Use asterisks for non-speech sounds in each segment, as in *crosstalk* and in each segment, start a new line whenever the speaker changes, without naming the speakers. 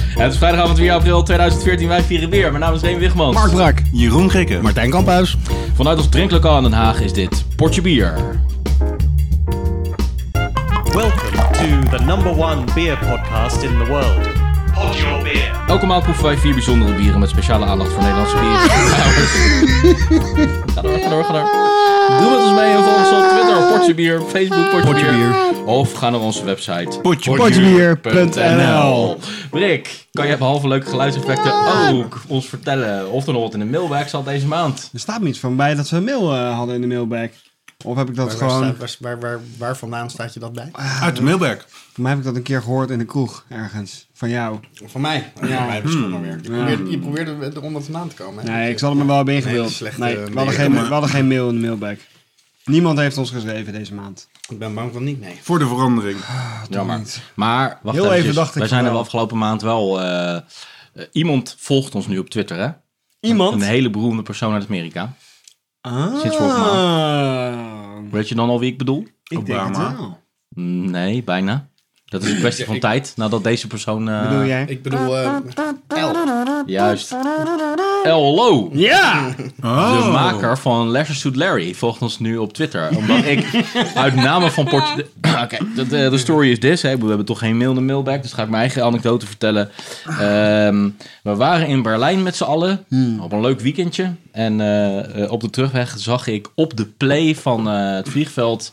het is vrijdagavond 4 april 2014. Wij vieren weer. Mijn naam is Reen Wigmans.
Mark Brak,
Jeroen Krikke.
Martijn Kamphuis.
Vanuit ons drinklokaal in Den Haag is dit Portje Bier.
Welcome to the number one beer podcast in the world. Pod your beer.
Elke maand proeven wij vier bijzondere bieren met speciale aandacht voor Nederlandse
*laughs*
bieren. ga door, ga door, ga door. Doe met ons mee en volg ons op Twitter, Portje Bier, Facebook, Portje,
Portje
bier.
Bier.
Of ga naar onze website.
Potjebier.nl
NL. Rick, kan je behalve leuke geluidseffecten
Ah.
ook ons vertellen of er nog wat in de mailbag zat deze maand?
Er staat me iets van bij dat ze een mail eh, hadden in de mailbag. Of heb ik dat
Waar, waar,
gewoon...
staat- waar, waar, waar- waar vandaan staat je dat bij?
Uit de mailbag.
Voor mij heb ik dat een keer gehoord in de kroeg ergens. Van jou.
Van mij. Ja, mij misschien nog weer. Je probeerde, je probeerde eronder vandaan te komen. hè?
Nee, ik zal hem er wel hebben
Nee,
ingebeeld.
slechte
Nee, we,
mail.
hadden geen, we hadden geen mail in de mailbag. Niemand heeft ons geschreven deze maand.
Ik ben bang van niet, nee.
Voor de verandering.
Jammer. Maar wacht
Heel
eventjes.
even dacht ik
Wij zijn
wel.
er de afgelopen maand wel. eh, eh, iemand volgt ons nu op Twitter, hè? Een
Iemand?
hele beroemde persoon uit Amerika.
Ah.
Sinds vorige Weet je dan al wie ik bedoel?
Ik denk het
Obama.
wel.
Nee, bijna. Dat is een kwestie van tijd nadat deze persoon. eh,
Bedoel jij?
Ik bedoel, eh elf.
Juist. El Lo,
Ja!
Oh.
de maker van Leisure Suit Larry, volgt ons nu op Twitter. Omdat
*laughs*
ik uit namen van Portje. *clears throat* Oké, dat, eh, de story is dit. Hè. Ik bedoel, We hebben toch geen mail in de mailbag, dus ga ik mijn eigen anekdote vertellen. Ehm, we waren in Berlijn met z'n allen
Hmm.
op een leuk weekendje. En eh, eh, op de terugweg zag ik op de play van eh, het vliegveld.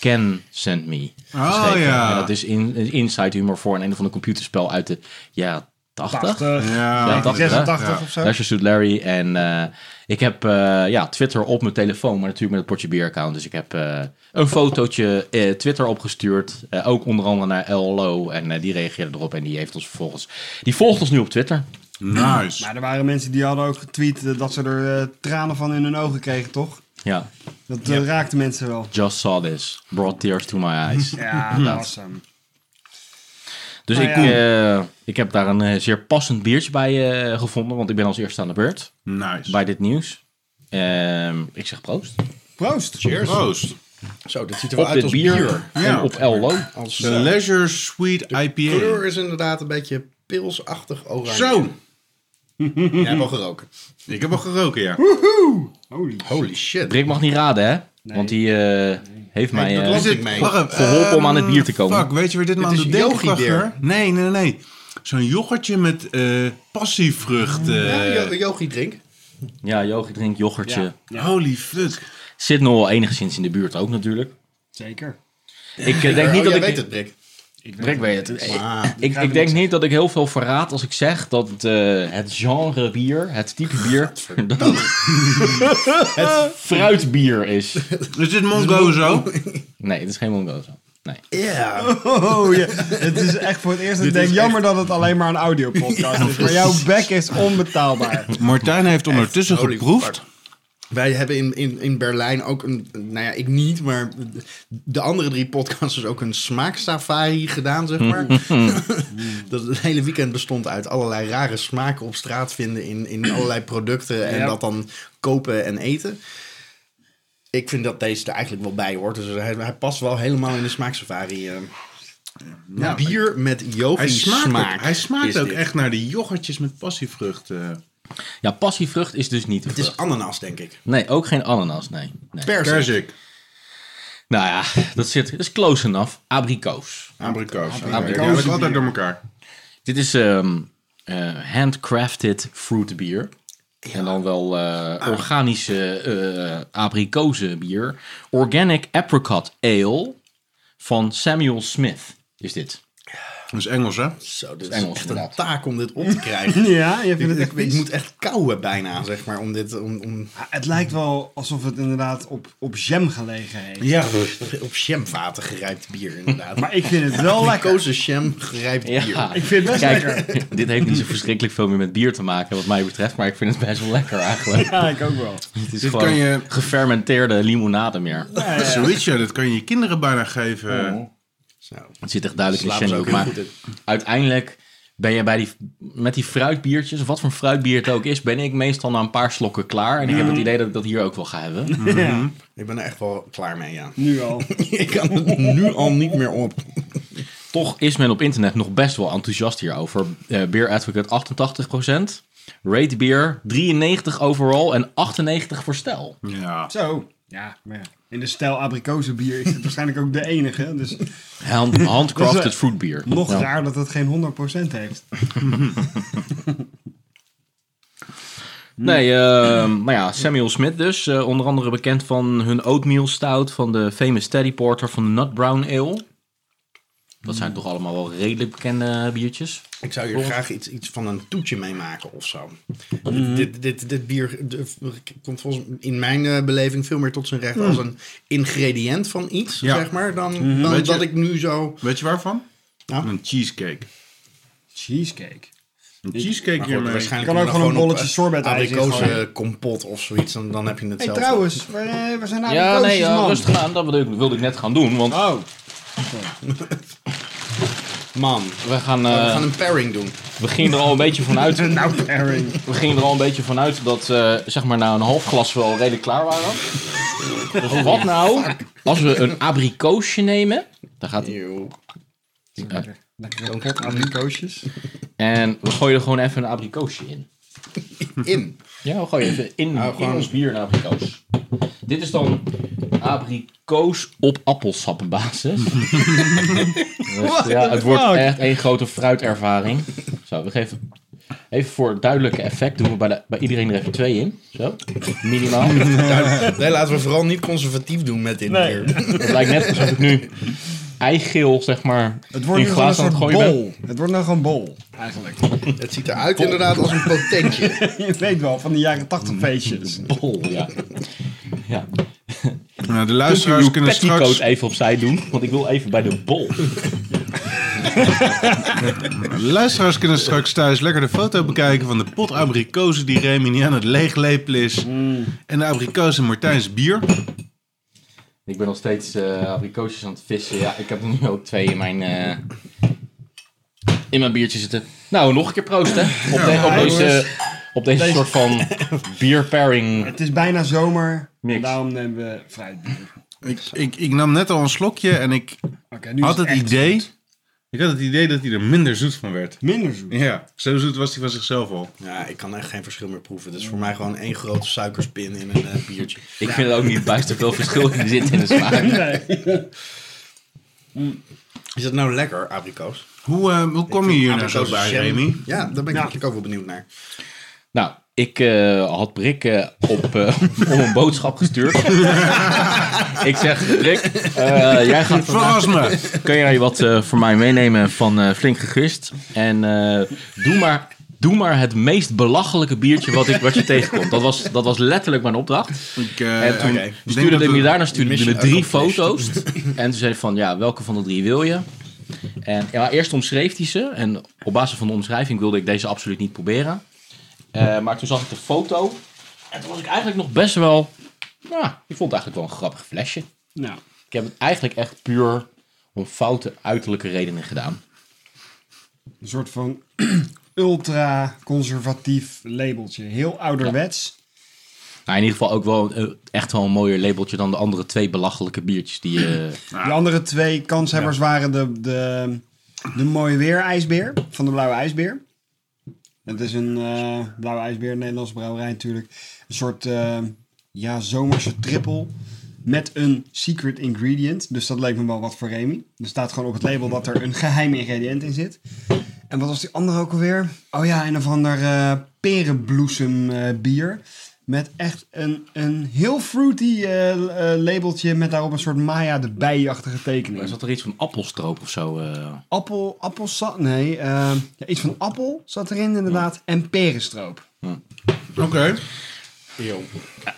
Ken Send Me.
Oh
En
ja.
dat is in, is inside humor voor een, een of ander computerspel uit de jaren 80.
80,
Ja.
dat-
86
Ja.
of zo.
Leisure Suit Larry. En eh, ik heb eh, ja, Twitter op mijn telefoon, maar natuurlijk met het Portje Bier account. Dus ik heb eh, een fotootje eh, Twitter opgestuurd. Eh, ook onder andere naar LLO. En eh, die reageerde erop en die heeft ons vervolgens... Die volgt ons nu op Twitter.
Nice.
Maar er waren mensen die hadden ook getweet eh, dat ze er eh, tranen van in hun ogen kregen, toch?
Ja,
Dat eh, raakte mensen wel.
just saw this. Brought tears to my eyes.
Ja, dat was hem.
Dus
Nou
ik, eh, ik heb daar een eh, zeer passend biertje bij eh, gevonden. Want ik ben als eerste aan de beurt
Nice.
bij dit nieuws. Ehm, ik zeg proost.
Proost!
Proost.
Zo, dat ziet er wel
Op dit
uit als
bier,
bier.
en
Ja.
op LO.
Als,
De
eh,
Leisure Sweet
de kleur
IPA.
is inderdaad een beetje pilsachtig oranje.
Zo.
Jij hebt al geroken.
Ik heb al geroken, ja.
Holy shit.
Rick mag niet raden, hè? Want die eh, heeft mij...
dat
eh,
las ik mee.
Wacht even. Eh,
Geholpen om aan het bier te komen.
Fuck, weet je waar dit me aan
is
doet denken,
yogi beer.
Gagger? Nee, nee, nee. Zo'n yoghurtje met eh passievrucht. eh.
Ja, yogi drink.
Ja, yoghurt drink, yoghurtje.
Holy fuck.
Zit nog wel enigszins in de buurt ook natuurlijk.
Zeker.
Ik eh, denk
Oh,
niet dat
jij
ik...
weet het, Rick.
Rick weet het. Ik-
Ah,
Ik, ik denk niet dat ik heel veel verraad als ik zeg dat eh, het genre bier, het type bier, dat *laughs* het fruitbier is.
Is dit Mongozo?
Nee, het is geen mongozo. Nee.
Ja.
Oh, ja. Het is echt voor het eerst. dat Ik denk, jammer dat het alleen maar een audiopodcast is. Maar jouw bek is onbetaalbaar.
Martijn heeft ondertussen
holy
geproefd.
Wij hebben in, in, in Berlijn ook een, nou ja, ik niet, maar de andere drie podcasters ook een smaaksafari gedaan, zeg
*laughs*
maar. dat het hele weekend bestond uit allerlei rare smaken op straat vinden in, in allerlei producten en
Ja.
dat dan kopen en eten. Ik vind dat deze er eigenlijk wel bij hoort. Dus hij, hij past wel helemaal in de smaaksafari. eh. Bier met yogi
Hij smaakt, ook-
smaak.
hij smaakt
is
ook
dit.
echt naar die yoghurtjes met passievrucht. eh.
Ja, passievrucht is dus niet. een
Het is
vrucht.
ananas, denk ik.
Nee, ook geen ananas, nee. nee.
Perzik.
Perzik.
Nou ja, dat, zit, dat is close enough. Abrikoos.
Abrikoos.
Abrikoos.
Ja, dat is altijd door elkaar.
Dit is ehm, eh, handcrafted fruit bier. En dan wel
Ah.
eh, organische eh abrikozenbier. Organic apricot ale van Samuel Smith is dit.
Dat is Engels, hè?
Zo, dit is
Engels,
echt
inderdaad.
een taak om dit op te krijgen.
*laughs* Ja, je
Ik,
vindt het echt
ik- ik
vies.
moet echt kauwen bijna, zeg maar, om dit... Om, om,
Het lijkt wel alsof het inderdaad op, op jam gelegen heeft.
ja, op jamvaten gerijpt bier, inderdaad.
*laughs* Maar ik vind het wel lekker.
Kozen jam gerijpt
Ja,
bier.
Ik vind het best lekker.
*laughs* dit heeft niet zo verschrikkelijk veel meer met bier te maken, wat mij betreft. Maar ik vind het best wel lekker eigenlijk.
Ja, ik ook wel.
Het is
Dit
gewoon
kan je-
gefermenteerde limonade meer.
Zoiets, ja. Dat kan je je kinderen bijna geven.
Zo.
Het zit echt duidelijk in
Slapen ze
Shandy
ook
ook.
heel
Maar
goed in.
uiteindelijk ben je bij die, met die fruitbiertjes, of wat voor fruitbier het ook is, ben ik meestal na een paar slokken klaar. En ik heb
Mm.
het idee dat ik dat hier ook wel ga hebben.
Ja,
*laughs* Ik ben er echt wel klaar mee, ja.
nu al.
ik kan het nu al niet meer op.
Toch is men op internet nog best wel enthousiast hierover. Eh Beer Advocate 88%, Rate Beer 93 overall en 98 voor stel.
Ja.
Zo. Ja, maar ja. In de stijl abrikozenbier is het waarschijnlijk ook de enige. Dus
Hand,
*laughs*
handcrafted fruit beer.
nog
Ja.
raar dat het geen 100% heeft.
Nee, ehm maar ja, Samuel Smith dus. eh, onder andere bekend van hun oatmeal stout van de famous Teddy Porter van de Nut Brown Ale. Dat zijn toch allemaal wel redelijk bekende biertjes.
Ik zou
Oh.
hier graag iets, iets van een toetje mee maken of zo.
Mhm.
dit, dit, dit bier de- komt volgens in mijn eh, beleving veel meer tot zijn
Hmm.
recht als een ingrediënt van iets,
Ja.
zeg maar, dan,
Mhm.
dan
Weet je-
dat ik nu zo...
Weet je waarvan?
Ja.
Een cheesecake.
Cheesecake.
Een cheesecake
Maar goed,
hiermee.
waarschijnlijk
Je kan ook
dan
gewoon een bolletje
op, eh,
sorbet ijs
Abrikozen eh,
ingooien.
kompot of zoiets, dan, dan heb je
Hé, hey,
hetzelfde.
trouwens, waar, eh, waar zijn
Ja,
abrikozen,
nee, ja,
man?
rustig aan. Dat wilde ik, wilde ik net gaan doen, want
Oh,
Man,
we gaan,
Nou, Oh, we
eh,
gaan een pairing doen.
we gingen er al een beetje vanuit.
nou pairing.
We gingen er al een beetje vanuit dat, eh, zeg maar, na een half glas we al redelijk klaar waren. Dus wat nou als we een abrikoosje nemen? Daar gaat hij.
Eeuw.
Lekker abrikoosjes.
En we gooien er gewoon even een abrikoosje in.
In.
Ja, we gooien even in,
Ah,
in
gewoon-
ons bier een abrikoos. Dit is dan abrikoos op
*laughs*
appelsappenbasis. Dus, ja, het wordt
fuck?
echt één grote fruitervaring. Zo, we geven even voor het duidelijke effect doen we bij, de, bij iedereen er even twee in. Zo, minimaal.
Nee, laten we vooral niet conservatief doen met dit
Nee.
bier.
Het lijkt net alsof ik nu eigeel, zeg maar,
Het wordt
in
nu gewoon een
glazen aan
soort
het gooien ben.
bol. Het wordt nou gewoon bol, *laughs* eigenlijk.
Het ziet eruit inderdaad als een potentje.
Je weet wel, van de jaren
Mm.
80 feestjes.
Bol, ja. ja.
Nou, de
Dus
Kunt u
luisteraars
uw
kunnen
petticoat
straks,
even opzij doen? Want ik wil even bij de bol.
de luisteraars kunnen straks thuis lekker de foto bekijken van de pot abrikozen die Remy niet aan het leeglepelen is. En de abrikozen Martijn's bier.
Ik ben nog steeds eh abrikoosjes aan het vissen. Ja, ik heb er nu ook twee in mijn, eh, in mijn biertje zitten. Nou, nog een keer proost, hè. Op, de- op deze, op deze, soort van bierpairing.
Het is bijna zomer,
Mix.
daarom nemen we fruitbier.
Ik, ik, ik nam net al een slokje en ik
Oké, nu is
had het
echt
idee.
goed.
Ik had het idee dat hij er minder zoet van werd.
Minder zoet.
Ja, zo zoet was hij van zichzelf al.
Ja, ik kan echt geen verschil meer proeven. Het is voor mij gewoon één grote suikerspin in een eh, biertje.
Ik vind er ook niet bijster veel verschil in zitten in de smaak.
Is dat nou lekker, abrikoos?
Hoe, eh, hoe kwam je hier nou zo
Abrikoos
bij,
jam.
Remy?
Ja, daar ben ik eigenlijk ook wel benieuwd naar.
Nou, ik eh, had Brik eh, op, eh, om een boodschap gestuurd. ik zeg, Brik, eh, jij gaat vandaag...
Verras me!
Kun jij wat eh, voor mij meenemen van eh, Flink Gegist? En eh, doe, maar, doe maar het meest belachelijke biertje wat, ik, wat je tegenkomt. Dat was, dat was letterlijk mijn opdracht.
Ik, eh,
En toen
oké. Ik denk
stuurde
dat
ik
we-
me daarna stuurde ik
Mission
me drie
accomplished.
foto's. *laughs* En toen zei hij van, ja, welke van de drie wil je? En ja, eerst omschreef hij ze. En op basis van de omschrijving wilde ik deze absoluut niet proberen. Eh, maar toen zag ik de foto. En toen was ik eigenlijk nog best wel... Ja, ik vond het eigenlijk wel een grappig flesje.
Nou,
Ik heb het eigenlijk echt puur om foute uiterlijke redenen gedaan.
een soort van *clears throat* ultra-conservatief labeltje. Heel ouderwets.
Nou, in ieder geval ook wel eh, echt wel een mooier labeltje dan de andere twee belachelijke biertjes die eh, je...
De andere twee kanshebbers waren de, de, de mooie weer-ijsbeer van de Blauwe IJsbeer. Het is een eh, Blauwe IJsbeer, een Nederlandse brouwerij natuurlijk. Een soort eh, ja, zomerse trippel met een secret ingredient. Dus dat leek me wel wat voor Remy. Er staat gewoon op het label dat er een geheim ingrediënt in zit. En wat was die andere ook alweer? Oh ja, een of ander eh, perenbloesem eh, bier. Met echt een, een heel fruity eh, l- eh, labeltje met daarop een soort Maya de bijachtige tekening.
Er zat er iets van appelstroop of zo. eh.
Appel, appelsap, nee, eh, ja, iets van appel zat erin inderdaad. En perenstroop.
Oké.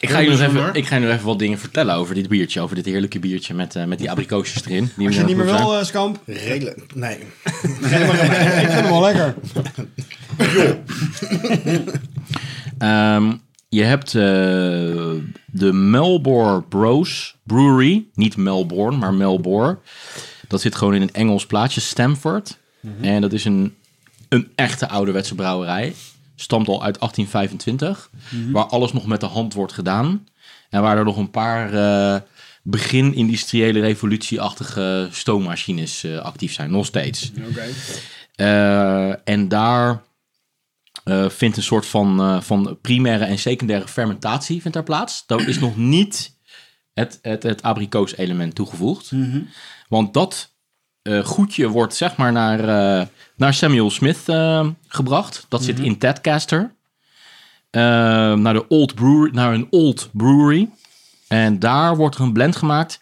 Ik ga, je nog even,
bijzonder.
ik ga je nog even wat dingen vertellen over dit biertje. Over dit heerlijke biertje met, eh, met die abrikoosjes erin. Die
Als je het niet meer
zijn.
wil, eh, Skamp,
*laughs*
Redelijk. Nee.
geef maar aan mij. Ik vind hem wel lekker.
Ehm, je hebt eh, de Melbourne Bros Brewery. Niet Melbourne, maar Melbourne. Dat zit gewoon in een Engels plaatsje, Stamford. En dat is een, een echte ouderwetse brouwerij. Stamt al uit 1825. Waar alles nog met de hand wordt gedaan. En waar er nog een paar eh, begin industriële revolutieachtige stoommachines eh, actief zijn, nog steeds.
Oké.
Eh, en daar eh, vindt een soort van, eh, van primaire en secundaire fermentatie vindt daar plaats. Daar is nog niet het, het, het abrikoos-element toegevoegd. Want dat eh goedje wordt zeg maar naar, eh, naar Samuel Smith eh, gebracht. Dat zit in Tadcaster. Eh, naar, de old brewery, naar een old brewery. En daar wordt er een blend gemaakt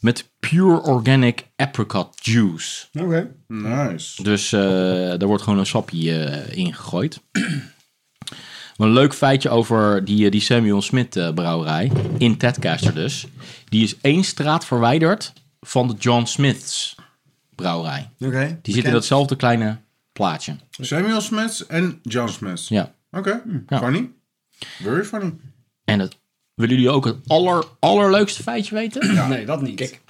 met pure organic apricot juice.
Oké.
Hmm. Nice.
Dus eh daar wordt gewoon een sapje eh, in gegooid. Maar een leuk feitje over die, eh, die Samuel Smith eh, brouwerij. In Tadcaster dus. Die is één straat verwijderd van de John Smith's brouwerij.
Oké.
Die zit in
Bekend.
datzelfde kleine plaatje.
Samuel Smith en John Smith.
Ja.
Oké,
Ja.
funny. Very funny.
En dat, willen jullie ook het aller, allerleukste feitje weten?
Nee, dat niet. Kijk.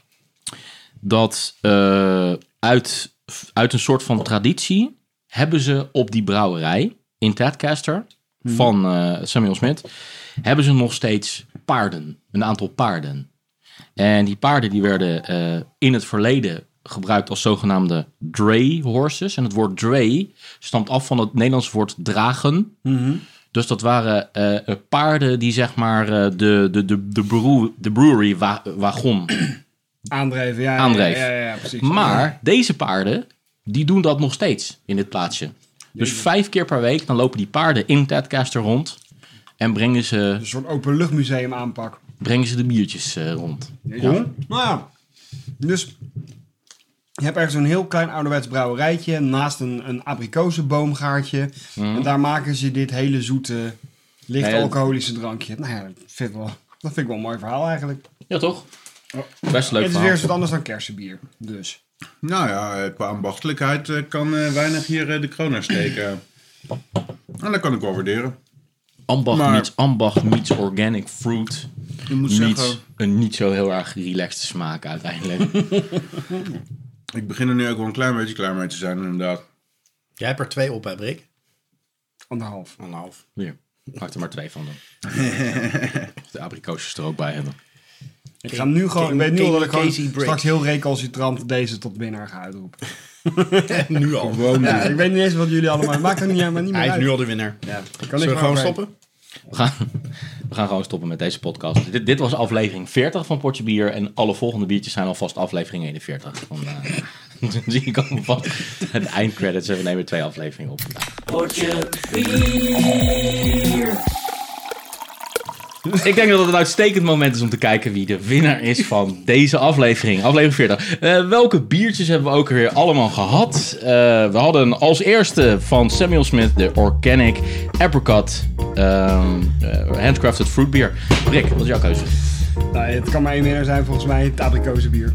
dat eh, uit, uit een soort van traditie hebben ze op die brouwerij in Tadcaster van eh, Samuel Smith, hebben ze nog steeds paarden, een aantal paarden. En die paarden die werden eh, in het verleden gebruikt als zogenaamde dray horses. En het woord dray stamt af van het Nederlandse woord dragen. Dus dat waren eh, eh, paarden die zeg maar eh, de, de, de, de, brew- de brewery wa- wagon
Aandrijven, ja. ja,
Aandrijf.
Ja, ja, ja, precies.
maar deze paarden, die doen dat nog steeds in dit plaatsje. Dus vijf keer per week, dan lopen die paarden in Tadcaster rond. En brengen ze,
Een soort openluchtmuseum aanpak.
brengen ze de biertjes eh, rond.
Cool. Nou ja. Dus je hebt ergens een heel klein ouderwets brouwerijtje naast een, een abrikozenboomgaartje.
Mhm.
En daar maken ze dit hele zoete, licht
Ja, ja.
alcoholische drankje. Nou ja, dat vind ik wel, dat vind ik wel een mooi verhaal eigenlijk.
Ja, toch? Best een leuk
Oh. het is weer
verhaal.
eens wat anders dan kersenbier. Dus.
Nou ja, eh, qua ambachtelijkheid eh, kan eh, weinig hier eh, de kroon naar
*clears throat*
steken. En dat kan ik wel waarderen.
Ambacht,
maar-
meets, ambacht meets organic fruit.
Je moet
Meets
zeggen,
een niet zo heel erg relaxed smaak
*laughs*
uiteindelijk.
ik begin er nu ook wel een klein beetje klaar mee te zijn inderdaad.
Jij hebt er twee op, hè, Brik?
Anderhalf.
Anderhalf.
Hier, maak er maar twee
*laughs*
van dan. Of de abrikoosjes er ook bij hebben.
Ik ga nu gewoon, ik
King-
weet nu al dat ik
King
gewoon
Casey Briggs.
straks heel recalcitrant deze tot winnaar ga uitroepen.
Nu al.
Ja, ik weet niet eens wat jullie allemaal, maakt er niet, maar niet meer
Oh, Hij is
uit.
nu al de winnaar.
ja, kan
Zullen we
maar
gewoon
overheen.
stoppen?
We gaan, *laughs* we gaan gewoon stoppen met deze podcast. Dit, dit was aflevering 40 van Potje Bier. En alle volgende biertjes zijn alvast aflevering 41. Van, eh, *laughs* dan zie ik alvast het eindcredits. En we nemen twee afleveringen op vandaag. Ik denk dat het een uitstekend moment is om te kijken wie de winnaar is van deze aflevering. Aflevering 40. Eh, welke biertjes hebben we ook weer allemaal gehad? Eh, we hadden als eerste van Samuel Smith de Organic Apricot ehm, eh, Handcrafted Fruit Beer. Rick, wat is jouw keuze?
Nou, het kan maar één winnaar zijn volgens mij, het abrikozenbier.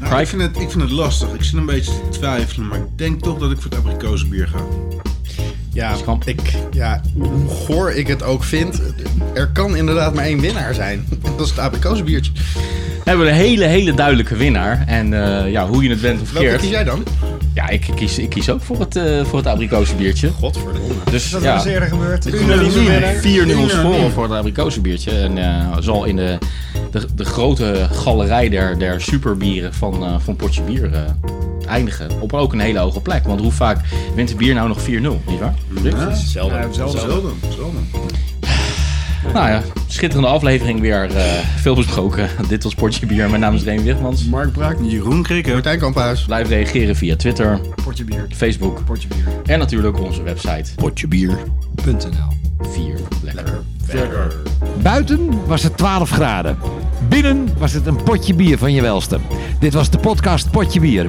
Nou, ik, vind het, ik vind het lastig. Ik zit een beetje te twijfelen, maar ik denk toch dat ik voor het abrikozenbier ga.
Oh.
Ja, ik, ja, hoe goor ik het ook vind, er kan inderdaad maar één winnaar zijn. *laughs* Dat is het abrikozenbiertje.
We hebben een hele, hele duidelijke winnaar. En eh, ja, hoe je het bent of
Welke
verkeerd.
kies jij dan?
Ja, ik kies, ik kies ook voor het, eh voor het abrikozenbiertje.
Godverdomme.
Dus
Dat
ja.
is eerder gebeurd.
Unaniem.
Unaniem.
4-0 scoren voor het abrikozenbiertje. En eh, zal in de, de, de grote galerij der, der superbieren van, eh, van Potje Bier eh, eindigen. Op ook een hele hoge plek. Want hoe vaak wint de bier nou nog 4-0, nietwaar? waar?
Zelden.
Ja, zelden.
Zelden, zelden.
Nou ja, schitterende aflevering weer. eh, veel besproken. *laughs* Dit was Potje Bier. Mijn naam is Reen Wigmans.
Mark Braak,
Jeroen Krikke.
Martijn Kamphuis.
Blijf reageren via Twitter,
potje bier.
Facebook
Potje bier.
en natuurlijk onze website.
.nl.
4 lekker.
Buiten was het 12 graden. Binnen was het een potje bier van je welste. Dit was de podcast Potje Bier.